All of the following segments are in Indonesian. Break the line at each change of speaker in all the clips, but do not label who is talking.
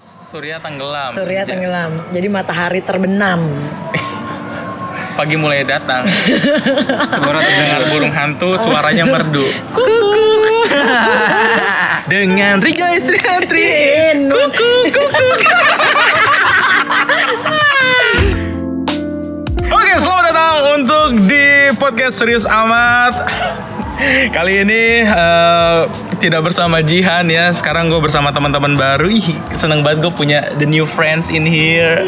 surya tenggelam.
Surya
senja.
tenggelam. Jadi matahari terbenam.
Pagi mulai datang. Suara terdengar burung hantu, suaranya merdu.
Kukuk. Ah.
Dengan Rika Istriatri.
Iya. Kukuk.
Oke, selamat datang untuk di podcast Serius Amat. Kali ini eh, tidak bersama Jihan ya. Sekarang gue bersama teman-teman baru. Ih, seneng banget gue punya the new friends in here.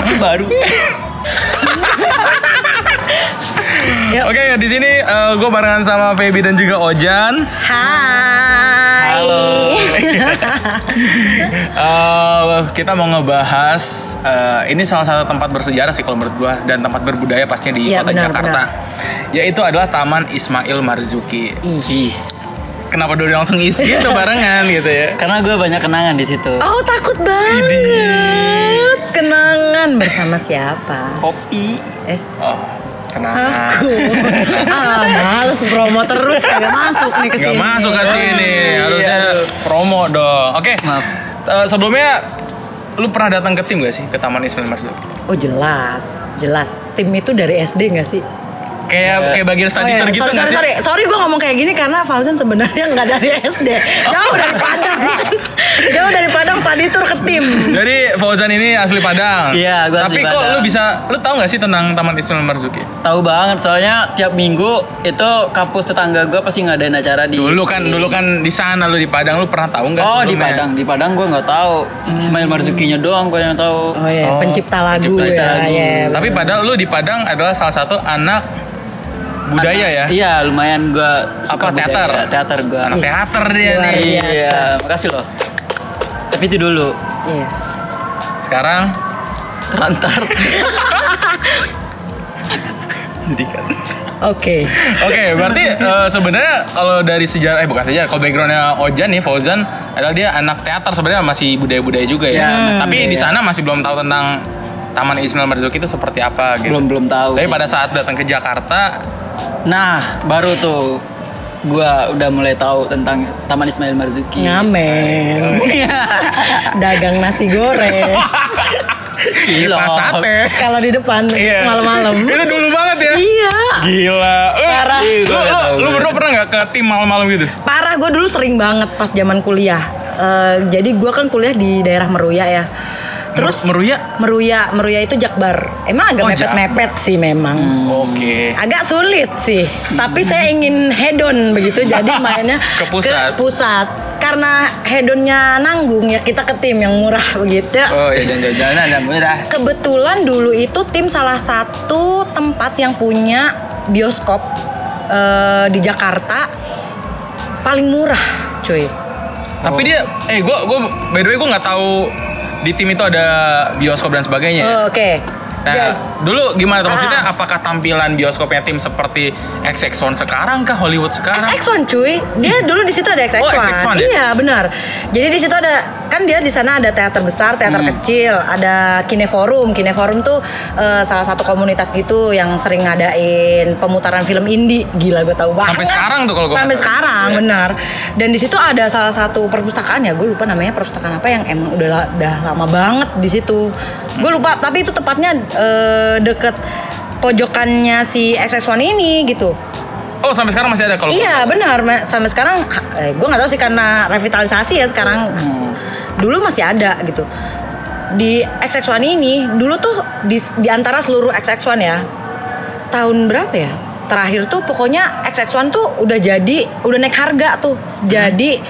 Aku baru.
Yuk.
Oke, di sini gue barengan sama Feby dan juga Ojan.
Hai.
Eh, kita mau ngebahas eh, ini salah satu tempat bersejarah sih kalau menurut gua dan tempat berbudaya pastinya di
Iya,
kota
benar,
Jakarta. Yaitu adalah Taman Ismail Marzuki. Is. Kenapa dulu langsung is gitu barengan gitu ya?
Karena gue banyak kenangan di situ.
Oh takut banget. Kenangan bersama siapa?
Kopi.
Eh.
Oh, kenapa?
Aku. ah, males promo terus kagak masuk nih ke sini.
Gak masuk ke sini. Harusnya
Iya.
promo dong. Oke.
Maaf.
Eh, sebelumnya lu pernah datang ke tim gak sih ke Taman Ismail Marzuki?
Oh jelas, jelas. Tim itu dari SD nggak sih?
Kayak kayak bagian
Oh,
study
iya.
tour gitu
sorry,
nggak
sorry,
sih?
sorry, sorry gue ngomong kayak gini karena Fauzan sebenarnya nggak dari SD. Jauh dari Padang. Jauh dari Padang study tour ke tim.
Jadi Fauzan ini asli Padang.
Iya, gua asli
Tapi kok
Padang.
lu bisa, lu tahu nggak sih tentang Taman Ismail Marzuki?
Tahu banget soalnya tiap minggu itu kampus tetangga gue pasti ngadain acara di
Dulu kan, dulu kan di sana lu di Padang, lu pernah tahu nggak?
Oh, di
sebelumnya?
Padang. Di Padang gue nggak tahu. Ismail Marzukinya doang gue yang tahu.
Hmm. Oh iya,
Oh,
pencipta lagu
pencipta
ya.
lagu.
iya.
Tapi padahal lu di Padang adalah salah satu anak budaya ya.
Iya, lumayan gue suka
Apa, teater?
budaya. Teater gue.
Anak
Is,
teater dia
luar
nih.
biasa.
Iya, makasih loh. Tapi itu dulu
Iya.
Sekarang
terlantar.
jadi kan.
Oke.
Oke, berarti eh, sebenarnya kalau dari sejarah, eh bukan sejarah, kalau backgroundnya Ojan nih, Fauzan adalah dia anak teater sebenarnya masih budaya-budaya juga ya.
Iya, masih
Tapi di
budaya.
sana masih belum tahu tentang Taman Ismail Marzuki itu seperti apa gitu.
belum belum tahu.
Tapi
sih.
pada saat datang ke Jakarta,
Nah, baru tuh gue udah mulai tahu tentang Taman Ismail Marzuki.
Nah. Ngamen.
Iya.
Dagang nasi goreng.
Gila.
kipas sate.
Kalau di depan
Iya.
malam-malam.
Itu dulu banget ya.
Iya.
Gila. Eh,
Parah.
Lu, lu, lu berdua pernah nggak ke tim malam-malam gitu?
Parah gue dulu sering banget pas zaman kuliah. Eh, jadi gue kan kuliah di daerah Meruya ya. Terus
Meruya?
Meruya, Meruya itu Jakbar. Emang agak
Oh, Hmm.
mepet-mepet sih memang.
Oke.
Agak sulit sih, tapi saya ingin hedon begitu jadi mainnya
Ke pusat.
pusat. Karena hedonnya nanggung ya kita ke tim yang murah begitu.
Oh
iya.
ya jalan-jalan ada murah.
Kebetulan dulu itu tim salah satu tempat yang punya bioskop eh, di Jakarta paling murah, cuy.
Tapi dia eh gua gua by the way gua nggak tahu di tim itu ada bioskop dan sebagainya. ya?
Oh, Oke.
Nah,
Ya,
dulu gimana tuh maksudnya?
Ah.
Apakah tampilan bioskopnya tim seperti XX1 sekarang kah Hollywood sekarang? Hmm.
XX1 cuy, dia dulu di situ ada XX1.
Oh, XX1 ya?
Iya benar. Jadi di situ ada kan dia di sana ada teater besar, teater
Hmm.
kecil, ada kineforum. Kineforum tuh eh, salah satu komunitas gitu yang sering ngadain pemutaran film indie. Gila gue tahu banget.
Sampai sekarang tuh kalau gua
Sampai
nggak salah.
sekarang
Iya.
benar. Dan di situ ada salah satu perpustakaan ya, gue lupa namanya perpustakaan apa yang emang udah la- udah lama banget di situ.
Hmm.
Gue lupa, tapi itu tepatnya eh, deket pojokannya si XX1 ini gitu.
Oh, sampai sekarang masih ada kalau
Iya benar Ma- sampai sekarang ha- eh, gue nggak tahu sih karena revitalisasi ya sekarang
Hmm.
dulu masih ada gitu di XX1 ini dulu tuh di, di antara seluruh XX1 ya tahun berapa ya terakhir tuh pokoknya XX1 tuh udah jadi udah naik harga tuh
Hmm.
jadi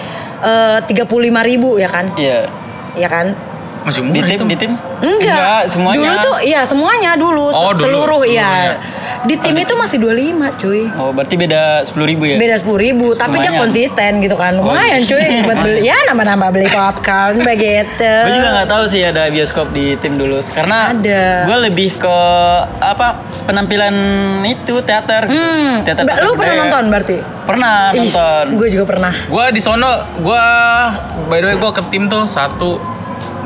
eh, tiga puluh ribu ya kan
Iya.
ya kan
masih
Di
murah
tim,
itu.
di tim?
enggak
semuanya.
dulu tuh iya semuanya dulu
Oh, dulu,
se- seluruh
semuanya.
ya di tim itu masih 25 cuy
Oh, berarti beda 10.000 ribu ya?
beda sepuluh ribu tapi dia
Lumayan.
konsisten gitu kan lumayan cuy buat beli ya nambah-nambah beli popcorn begitu
Gue juga nggak tahu sih ada bioskop di tim dulu. Karena
Ada.
Gue lebih ke apa penampilan itu teater. gitu.
hmm,
Teater.
Mbak, lu
budaya.
pernah nonton berarti
Pernah nonton.
gue juga pernah
Gua di sono, gua by the way gua ke tim tuh satu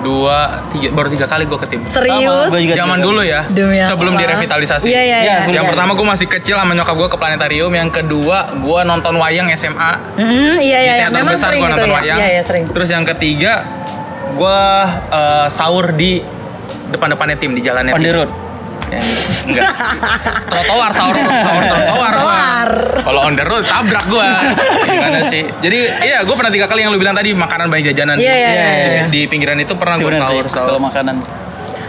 dua, tiga, baru tiga kali gue ke tim.
Serius?
Sama, gua juga
Zaman
tiga.
dulu ya,
Demi
sebelum
apa?
direvitalisasi.
Iya, iya,
Iya,
iya.
sebelum-
Yang pertama gue masih kecil sama nyokap gue ke planetarium, yang kedua gue nonton wayang SMA.
Mm, iya,
Di
iya, iya.
teater
Memang
besar
sering
gua
gitu
nonton
ya.
wayang.
Iya, iya, sering.
Terus yang ketiga gue eh, sahur di depan-depannya tim di jalannya.
On
tim.
the road.
Ya, Enggak. trotoar sahur sahur trotoar gua.
Trotoar.
Kalau on the road tabrak gua. Gimana sih? Jadi iya gua pernah tiga kali yang lu bilang tadi makanan banyak jajanan.
Iya, iya,
Di-
iya, iya.
Di pinggiran itu pernah gua
Bener sih,
sahur sahur.
kalau makanan.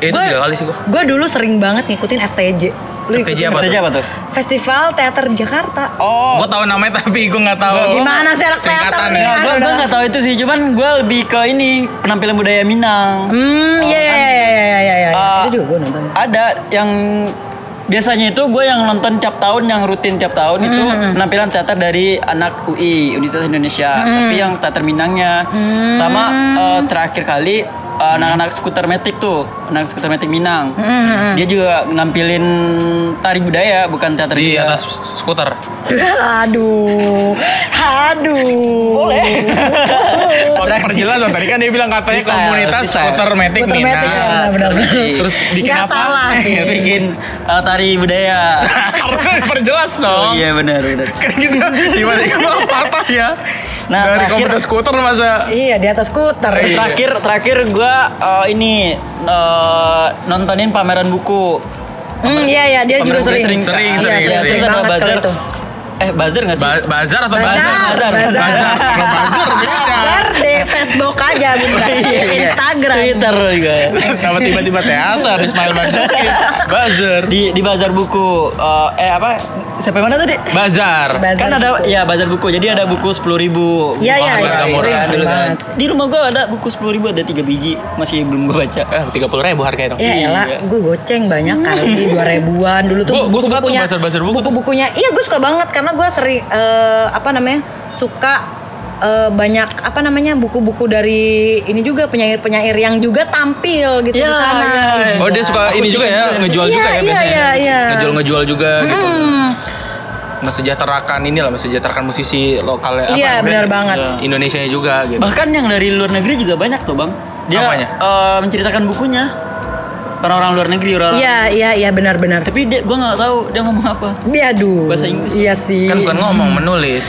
Eh, itu
Gua-
tiga kali sih gua.
Gua dulu sering banget ngikutin FTJ. Lu
FTJ
ikutin
Apa
Itu
tuh?
aja apa tuh?
Festival Teater Jakarta.
Oh,
Gua tahu namanya tapi gua nggak tahu.
Gimana sih anak
Oh, Singkatan
teater
ya.
nih?
Nah, gue
Aduh,
gue
dah.
nggak tahu itu sih, cuman gue lebih ke ini penampilan budaya Minang.
Hmm, iya, iya, iya, iya, iya, iya, iya.
Ah.
Itu juga gue nonton.
Ada yang biasanya itu gue yang nonton tiap tahun, yang rutin tiap tahun itu
Hmm.
penampilan teater dari anak UI Universitas Indonesia, tapi yang teater Minangnya
Hmm.
sama eh, terakhir kali eh, anak-anak skuter metik tuh, anak skuter metik Minang,
Hmm.
dia juga nampilin tari budaya bukan teater
Di
juga.
atas skuter.
Aduh, aduh. Boleh.
Orang perjelasan Oh, tadi kan dia bilang katanya
Freestyle,
komunitas
freestyle.
skuter metik
Skuter
Minang.
metik, ya,
Nah,
benar-benar.
skuter metik.
Terus bikin
Nggak
apa?
salah.
bikin eh, tari budaya.
Harusnya diperjelas
Oh,
dong.
iya benar benar.
Kan kita gimana gimana patah ya.
Nah,
Dari
terakhir-
komunitas skuter masa
Iya, di atas skuter.
Iya.
Terakhir terakhir gua eh, ini eh, nontonin pameran buku.
Hmm, iya, iya, dia juga
Pemeran sering,
sering. Iya,
sering,
iya,
sering,
iya,
sering.
Terus ada
banget kalau
buzzer.
itu.
Eh buzzer nggak sih?
Ba- bazar atau
Bazar,
bazar?
bazar.
Bazar. Kalau bazar beda.
Buzzer di Facebook aja, bukan di Instagram.
Iya, Twitter juga. ya.
Kenapa tiba-tiba teater Ismail Marzuki? Bazar.
Di di bazar buku eh, eh apa? Siapa yang mana tadi?
Bazar.
Bazar
kan ada ya bazar buku. Jadi ada buku 10.000 ribu.
Iya, iya,
Harga
iya.
murah
sering,
dulu
sering
kan.
banget.
Di rumah gua ada buku 10.000 ribu ada tiga biji masih belum gua baca.
Eh, tiga puluh ribu harganya dong.
Ya elah,
Iya.
gue goceng banyak kali dua ribuan dulu tuh.
Gua- gua suka tuh
buku-bukunya-
bazar-bazar buku tuh.
Buku-bukunya, iya gue suka banget karena gue sering eh, apa namanya suka eh, banyak apa namanya buku-buku dari ini juga penyair-penyair yang juga tampil gitu
Iya,
di sana.
iya.
Oh dia suka
Aku
ini juga ya, ngejual
Iya,
juga ya
iya,
biasanya.
iya, iya. Hmm.
Ngejual-ngejual juga gitu. Mesejahterakan inilah, mesejahterakan musisi lokal ya, apa,
Iya, benar
dan
banget.
Indonesia juga gitu.
Bahkan yang dari luar negeri juga banyak tuh bang. Dia
Apanya?
eh, menceritakan bukunya orang-orang luar negeri orang.
Iya, iya, iya benar-benar.
Tapi dia gue nggak tahu dia ngomong apa.
Biadu.
Bahasa Inggris.
Iya sih.
Kan bukan ngomong, menulis.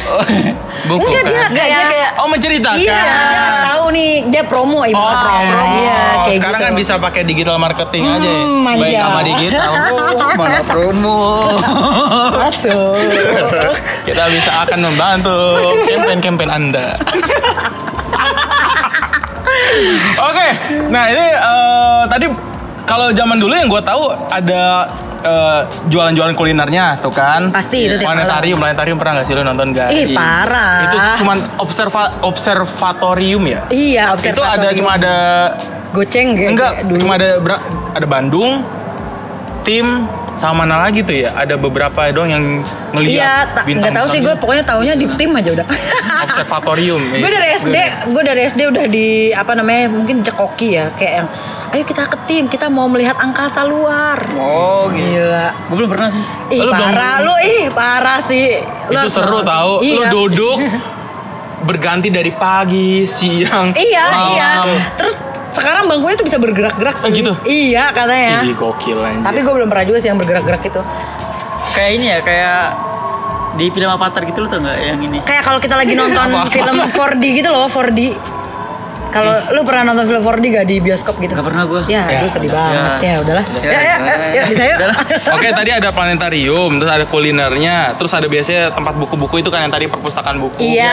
Buku
Enggak, dia
kan.
Enggak, Iya, dia kayak-
Oh, menceritakan.
Iya, dia nggak tahu nih dia promo ibu.
Oh, promo.
Iya, kayak
Sekarang
gitu.
kan bisa pakai digital marketing aja ya.
Hmm,
Baik
iya.
sama digital.
Malah promo.
masuk.
Kita bisa akan membantu campaign-campaign Anda. Oke, nah ini eh, tadi kalau zaman dulu yang gue tahu ada eh, jualan-jualan kulinernya tuh kan.
Pasti, itu tiap malam.
Planetarium, planetarium pernah nggak sih lu nonton nggak?
Ih, parah.
Itu cuman observa observatorium ya.
Iya,
Itu ada
observatorium.
cuma ada
goceng gitu
enggak
ya, dulu.
cuma ada bera- ada Bandung tim sama mana lagi tuh ya ada beberapa doang yang ngelihat
Iya, ta- nggak tahu sih gue pokoknya taunya di tim aja udah.
observatorium iya.
gue dari SD, gue dari SD udah di apa namanya mungkin cekoki ya kayak yang ayo kita ke tim, kita mau melihat angkasa luar.
Oh gitu.
Gila.
Gue belum pernah sih.
Ih,
Lu belum-
parah lu ih, parah sih. Lu
itu
harus
seru
nonton.
tahu lu
Iya.
duduk berganti dari pagi siang
Iya,
malam.
iya. Terus sekarang bangkunya tuh bisa bergerak-gerak.
Eh, gitu?
Iya, katanya.
Ih, gokil anjir.
Tapi gue belum pernah juga sih yang bergerak-gerak gitu. itu.
Kayak ini ya kayak di film Avatar gitu lo tau nggak yang ini?
Kayak kalau kita lagi nonton
Apa-apa.
film 4D gitu loh, 4D. Kalau lu pernah nonton film 4D gak di bioskop gitu?
Gak pernah gua.
Ya,
Ya.
aduh sedih banget.
Ya.
Ya, udahlah.
Ya,
Ya, ya, ya, ya, bisa yuk.
Udahlah.
Oke tadi ada planetarium, terus ada kulinernya, terus ada biasanya tempat buku-buku itu kan yang tadi perpustakaan buku.
Iya.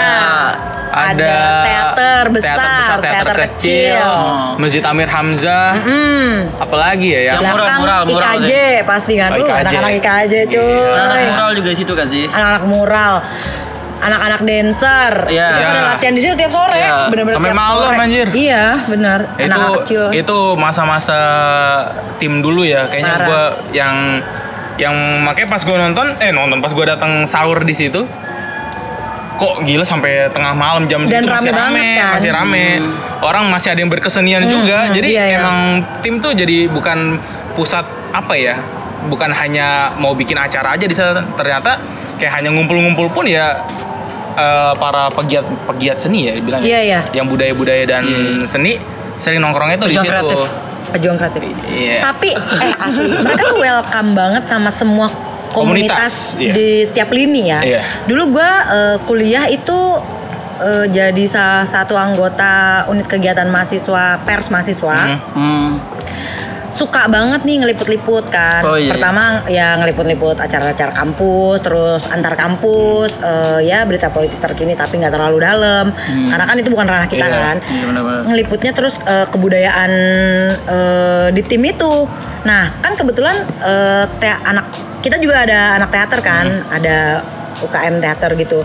Ada,
Ada teater besar, teater kecil.
Masjid Amir Hamzah,
Hmm.
apalagi ya yang
Yang mural,
Belakang
mural, mural
IKJ pasti kan.
Oh,
Lu
IKJ.
anak-anak IKJ
Anak
cuy.
mural juga situ kan sih.
Anak-anak mural. Anak-anak dancer.
Iya.
Itu pada
Iya.
latihan di situ tiap sore.
Iya.
Bener-bener
Sampai
tiap
malam,
sore.
anjir.
Iya, benar.
itu
Anak-anak kecil.
itu masa-masa tim dulu ya kayaknya
Parah.
gua yang yang makanya pas gua nonton eh nonton pas gua datang sahur di situ kok gila sampai tengah malam jam
Dan
segitu
rame
masih rame
banget kan?
masih rame orang masih ada yang berkesenian juga
hmm,
jadi
iya, iya.
emang tim tuh jadi bukan pusat apa ya bukan hanya mau bikin acara aja di sana ternyata kayak hanya ngumpul-ngumpul pun ya eh, para pegiat pegiat seni ya dibilang
Iya, iya.
iya. yang budaya-budaya dan seni sering nongkrongnya tuh di
Pejuang
situ.
kreatif.
pejuang kreatif.
Iya.
Tapi eh asli mereka tuh welcome banget sama semua komunitas,
Komunitas, iya.
di tiap lini ya.
Iya.
Dulu gua eh, kuliah itu eh, jadi salah satu anggota unit kegiatan mahasiswa pers mahasiswa.
Mm-hmm.
Hmm.
Suka banget nih ngeliput-liput kan.
Oh, iya, iya.
Pertama ya ngeliput-liput acara-acara kampus, terus antar kampus, eh, ya berita politik terkini tapi nggak terlalu dalam. Karena kan itu bukan ranah kita
Iya.
kan
Hmm. Iya, benar-benar.
ngeliputnya terus eh, kebudayaan eh, di tim itu. Nah, kan kebetulan eh, te- anak kita juga ada anak teater kan,
Hmm.
ada UKM teater gitu.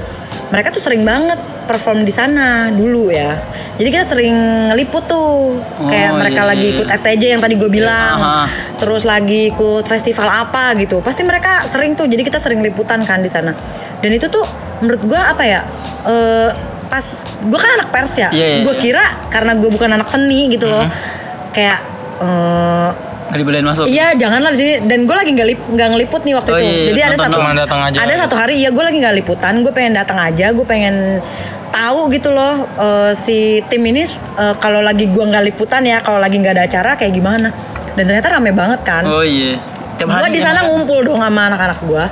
Mereka tuh sering banget perform di sana dulu ya. Jadi kita sering ngeliput tuh kayak
Oh,
mereka
iya,
lagi
iya.
ikut FTJ yang tadi gue bilang,
Aha.
terus lagi ikut festival apa gitu. Pasti mereka sering tuh. Jadi kita sering liputan kan di sana. Dan itu tuh menurut gue apa ya? eh, pas gue kan anak pers ya,
Iya, iya, Mm-hmm.
gue
iya.
kira karena gue bukan anak seni gitu loh kayak eh,
Nggak dibolehin masuk.
Iya janganlah di sini dan gue lagi nggak lip- nggak ngeliput nih waktu
Oh,
itu
iya,
jadi ada
nonton
satu
doang, datang aja.
ada satu hari ya gue lagi nggak liputan gue pengen datang aja gue pengen tahu gitu loh eh, si tim ini eh, kalau lagi gue nggak liputan ya kalau lagi nggak ada acara kayak gimana dan ternyata rame banget kan
Oh iya. Tiap
gue
hari
di
kan
sana
ada.
ngumpul dong sama anak-anak gue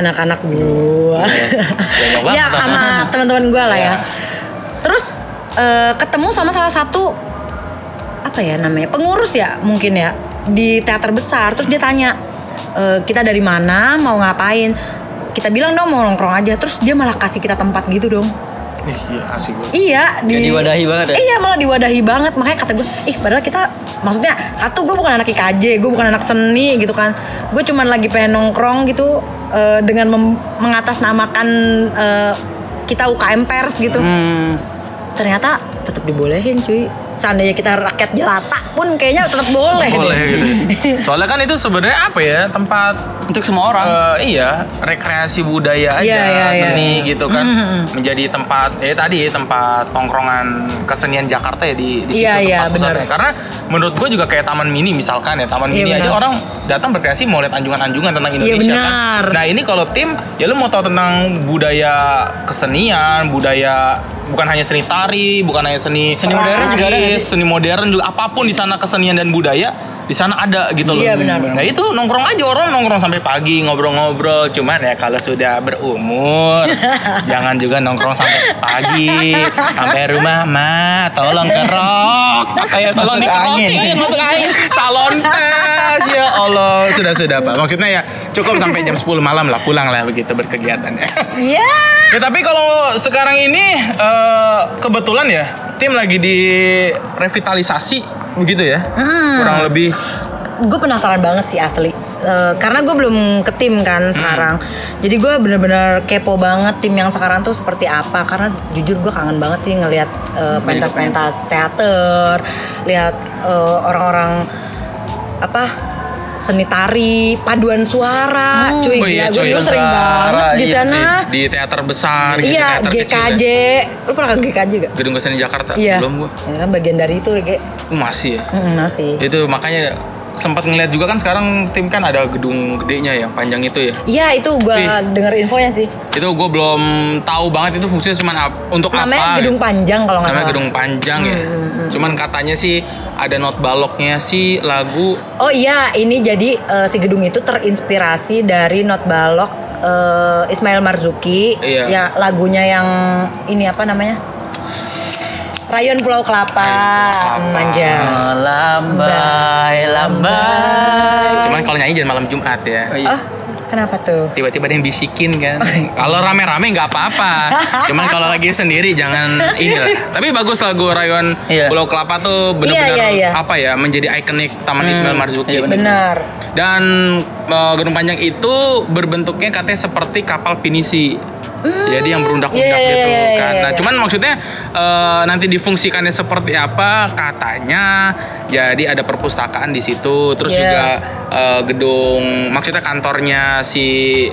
anak-anak gue
Iya.
Banyak banget
ya sama
kan.
teman-teman gue lah ya terus eh, ketemu sama salah satu apa ya namanya pengurus ya mungkin ya di teater besar terus dia tanya "E, kita dari mana mau ngapain kita bilang dong mau nongkrong aja terus dia malah kasih kita tempat gitu dong
Ih, iya, asik banget.
Iya di
Kayak diwadahi banget ya?
Iya malah diwadahi banget makanya kata gue, ih padahal kita maksudnya satu gue bukan anak IKJ, gue bukan anak seni gitu kan, gue cuman lagi pengen nongkrong gitu eh, dengan mem- mengatasnamakan eh, kita UKM pers gitu.
Hmm.
Ternyata tetap dibolehin cuy. Seandainya kita rakyat jelata pun kayaknya tetap boleh. deh.
Boleh gitu. Soalnya kan itu sebenarnya apa ya tempat
Untuk semua orang.
Oh.
eh, iya rekreasi budaya aja
Iya, iya, mm-hmm. iya.
seni gitu kan menjadi tempat ya tadi tempat tongkrongan kesenian Jakarta ya di di situ
Iya, iya,
tempat
benar.
pusatnya. Karena menurut gue juga kayak taman mini misalkan ya taman
Iya,
mini aja
benar. Iya,
orang datang berkreasi mau lihat anjungan-anjungan tentang Indonesia
benar.
kan. Nah ini kalau tim ya lu mau tahu tentang budaya kesenian budaya bukan hanya seni tari bukan hanya seni
Seni modern juga ada nggak sih?
Iya, seni modern juga apapun di sana kesenian dan budaya di sana ada gitu loh.
Iya, benar.
Nah itu nongkrong aja orang nongkrong sampai pagi ngobrol-ngobrol. Cuman ya kalau sudah berumur jangan juga nongkrong sampai pagi sampai rumah ma tolong kerok kayak tolong
Masuk
dikerokin
angin.
masuk angin salon tes ya Allah sudah sudah pak maksudnya ya cukup sampai jam 10 malam lah pulang lah begitu berkegiatan ya.
Iya.
Ya tapi kalau sekarang ini eh, kebetulan ya tim lagi di revitalisasi begitu ya.
Ah.
Kurang lebih
gue penasaran banget sih asli Eh, karena gue belum ke tim
Hmm.
kan sekarang jadi gue bener-bener kepo banget tim yang sekarang tuh seperti apa karena jujur gue kangen banget sih ngelihat eh, pentas-pentas teater lihat eh, orang-orang apa seni tari paduan suara cuy
Oh iya,
gila, gue
cuy,
dulu sering
suara,
banget di
iya,
sana
di teater besar gitu,
iya
teater
GKJ
kecil.
lu pernah ke GKJ gak?
ya. Gedung Kesenian Jakarta.
iya
Belum gua.
Ya kan bagian dari itu kayak
Uh, masih ya.
mm, masih
Itu makanya sempat ngeliat juga kan sekarang tim kan ada gedung gedenya yang panjang itu ya.
Iya itu gue
Ih.
denger infonya sih
Itu gue belum tahu banget itu fungsinya cuman ap- untuk apa.
namanya gedung
gitu.
panjang Hmm, kalau nggak
Namanya
salah.
gedung panjang ya. Cuman katanya sih ada not baloknya sih lagu
Oh iya, ini jadi eh, si gedung itu terinspirasi dari not balok eh, Ismail Marzuki,
Iya.
ya lagunya yang ini apa namanya? Rayon Pulau Kelapa,
Pulau Kelapa.
manja.
Lambai, lambai.
Cuman kalau nyanyi jangan malam Jumat ya.
Oh, iya.
Oh, kenapa tuh?
Tiba-tiba ada yang bisikin kan. kalau rame-rame nggak apa-apa. Cuman kalau lagi sendiri jangan inilah. Tapi bagus lagu Rayon
Iya.
Pulau Kelapa tuh benar-benar
Iya, iya, iya.
apa ya menjadi ikonik Taman
Hmm,
Ismail Marzuki.
iya,
Benar.
Dan eh, gedung panjang itu berbentuknya katanya seperti kapal pinisi. Jadi yang berundak-undak
iya, iya,
gitu
iya, iya,
kan.
iya,
Nah,
iya.
cuman maksudnya eh, nanti difungsikannya seperti apa katanya. Jadi ada perpustakaan di situ, terus
Iya.
juga eh, gedung maksudnya kantornya si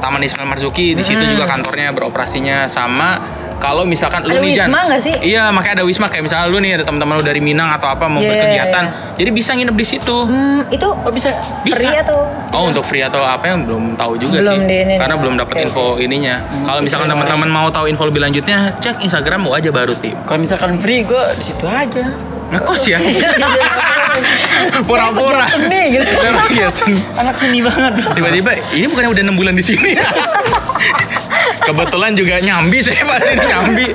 Taman Ismail Marzuki di situ juga kantornya beroperasinya sama kalau misalkan lu
Hmm. Ada
nih Jan.
Wisma nggak sih?
Iya, makanya ada Wisma kayak misalnya lu nih ada teman-teman lu dari Minang atau apa mau
Iya,
berkegiatan.
iya,
Jadi bisa nginep di situ.
Hmm, itu bisa,
Oh, Bisa.
free atau
Oh, untuk free atau apa yang belum tahu juga sih.
Belum di ini
Karena
nih.
belum dapat
Oke, Hmm,
info ininya. Kalau misalkan
Bisa,
teman-teman mau tahu info lebih lanjutnya, cek Instagram mau aja baru tim.
Kalau misalkan free gue di situ aja.
Ngekos ya. Pura-pura.
Seni gitu.
Memang iya, seni.
Anak seni banget. bro.
Tiba-tiba ini bukannya udah 6 bulan di sini. Kebetulan juga nyambi saya pas ini nyambi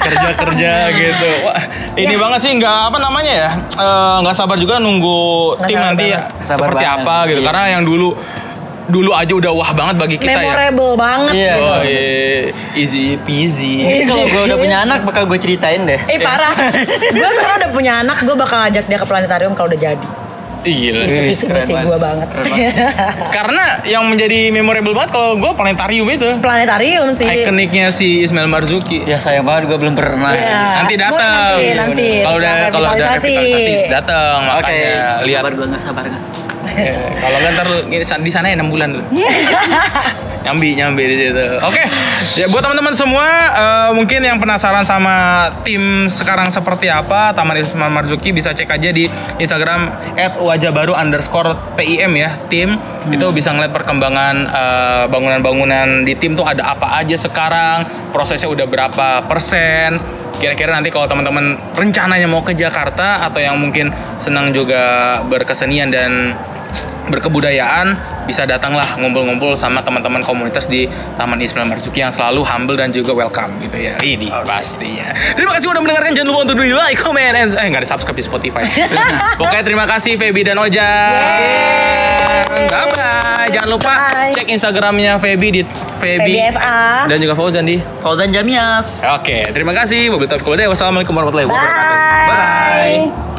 kerja-kerja gitu. Wah, ini
Ya.
banget sih nggak apa namanya ya. eh, Nggak sabar juga nunggu
Nggak
tim
sabar
nanti ya
banget. Sabar
seperti
banget
apa
sih,
gitu.
iya.
Karena yang dulu dulu aja udah wah banget bagi kita ya.
memorable banget. gitu.
Iya.
Oh, iya. easy peasy.
Iya
Ini kalau gue udah punya anak bakal gue ceritain deh.
Eh parah.
Iya.
gue sekarang udah punya anak, gue bakal ajak dia ke planetarium kalau udah jadi.
Ih, Gila.
Itu
Wih,
visi
keren
misi
banget.
gue banget.
Keren banget.
Karena yang menjadi memorable banget kalau gue planetarium itu.
planetarium sih.
Iya.
Ikoniknya si Ismail Marzuki.
Ya sayang banget gue belum pernah.
Iya.
Nanti
Boleh
datang.
nanti, nanti.
Kalau udah
Setelah
kalau ada
revitalisasi.
revitalisasi datang
Oke.
makanya lihat.
Sabar gue nggak sabar nggak.
Eh, Kalau nggak ntar lu- ini sa- di sana ya 6 bulan lu. nyambi nyambi di situ. Oke. Ya buat teman-teman semua eh, mungkin yang penasaran sama tim sekarang seperti apa Taman Ismail Marzuki bisa cek aja di Instagram @wajahbaru underscore PIM ya tim itu bisa ngeliat perkembangan eh, bangunan-bangunan di tim tuh ada apa aja sekarang prosesnya udah berapa persen kira-kira nanti kalau teman-teman rencananya mau ke Jakarta atau yang mungkin senang juga berkesenian dan berkebudayaan bisa datanglah ngumpul-ngumpul sama teman-teman komunitas di Taman Ismail Marzuki yang selalu humble dan juga welcome gitu ya. Ini pastinya. Terima kasih udah mendengarkan jangan lupa untuk di like, comment, and eh nggak ada subscribe di Spotify. Pokoknya terima kasih Feby dan Oja. Bye bye. Jangan lupa
Bye.
cek Instagramnya Feby di Feby,
FA.
dan juga Fauzan di
Fauzan Jamias.
Oke, terima kasih. Mobil Taufiq Wabillahi. Wassalamualaikum warahmatullahi wabarakatuh.
Bye.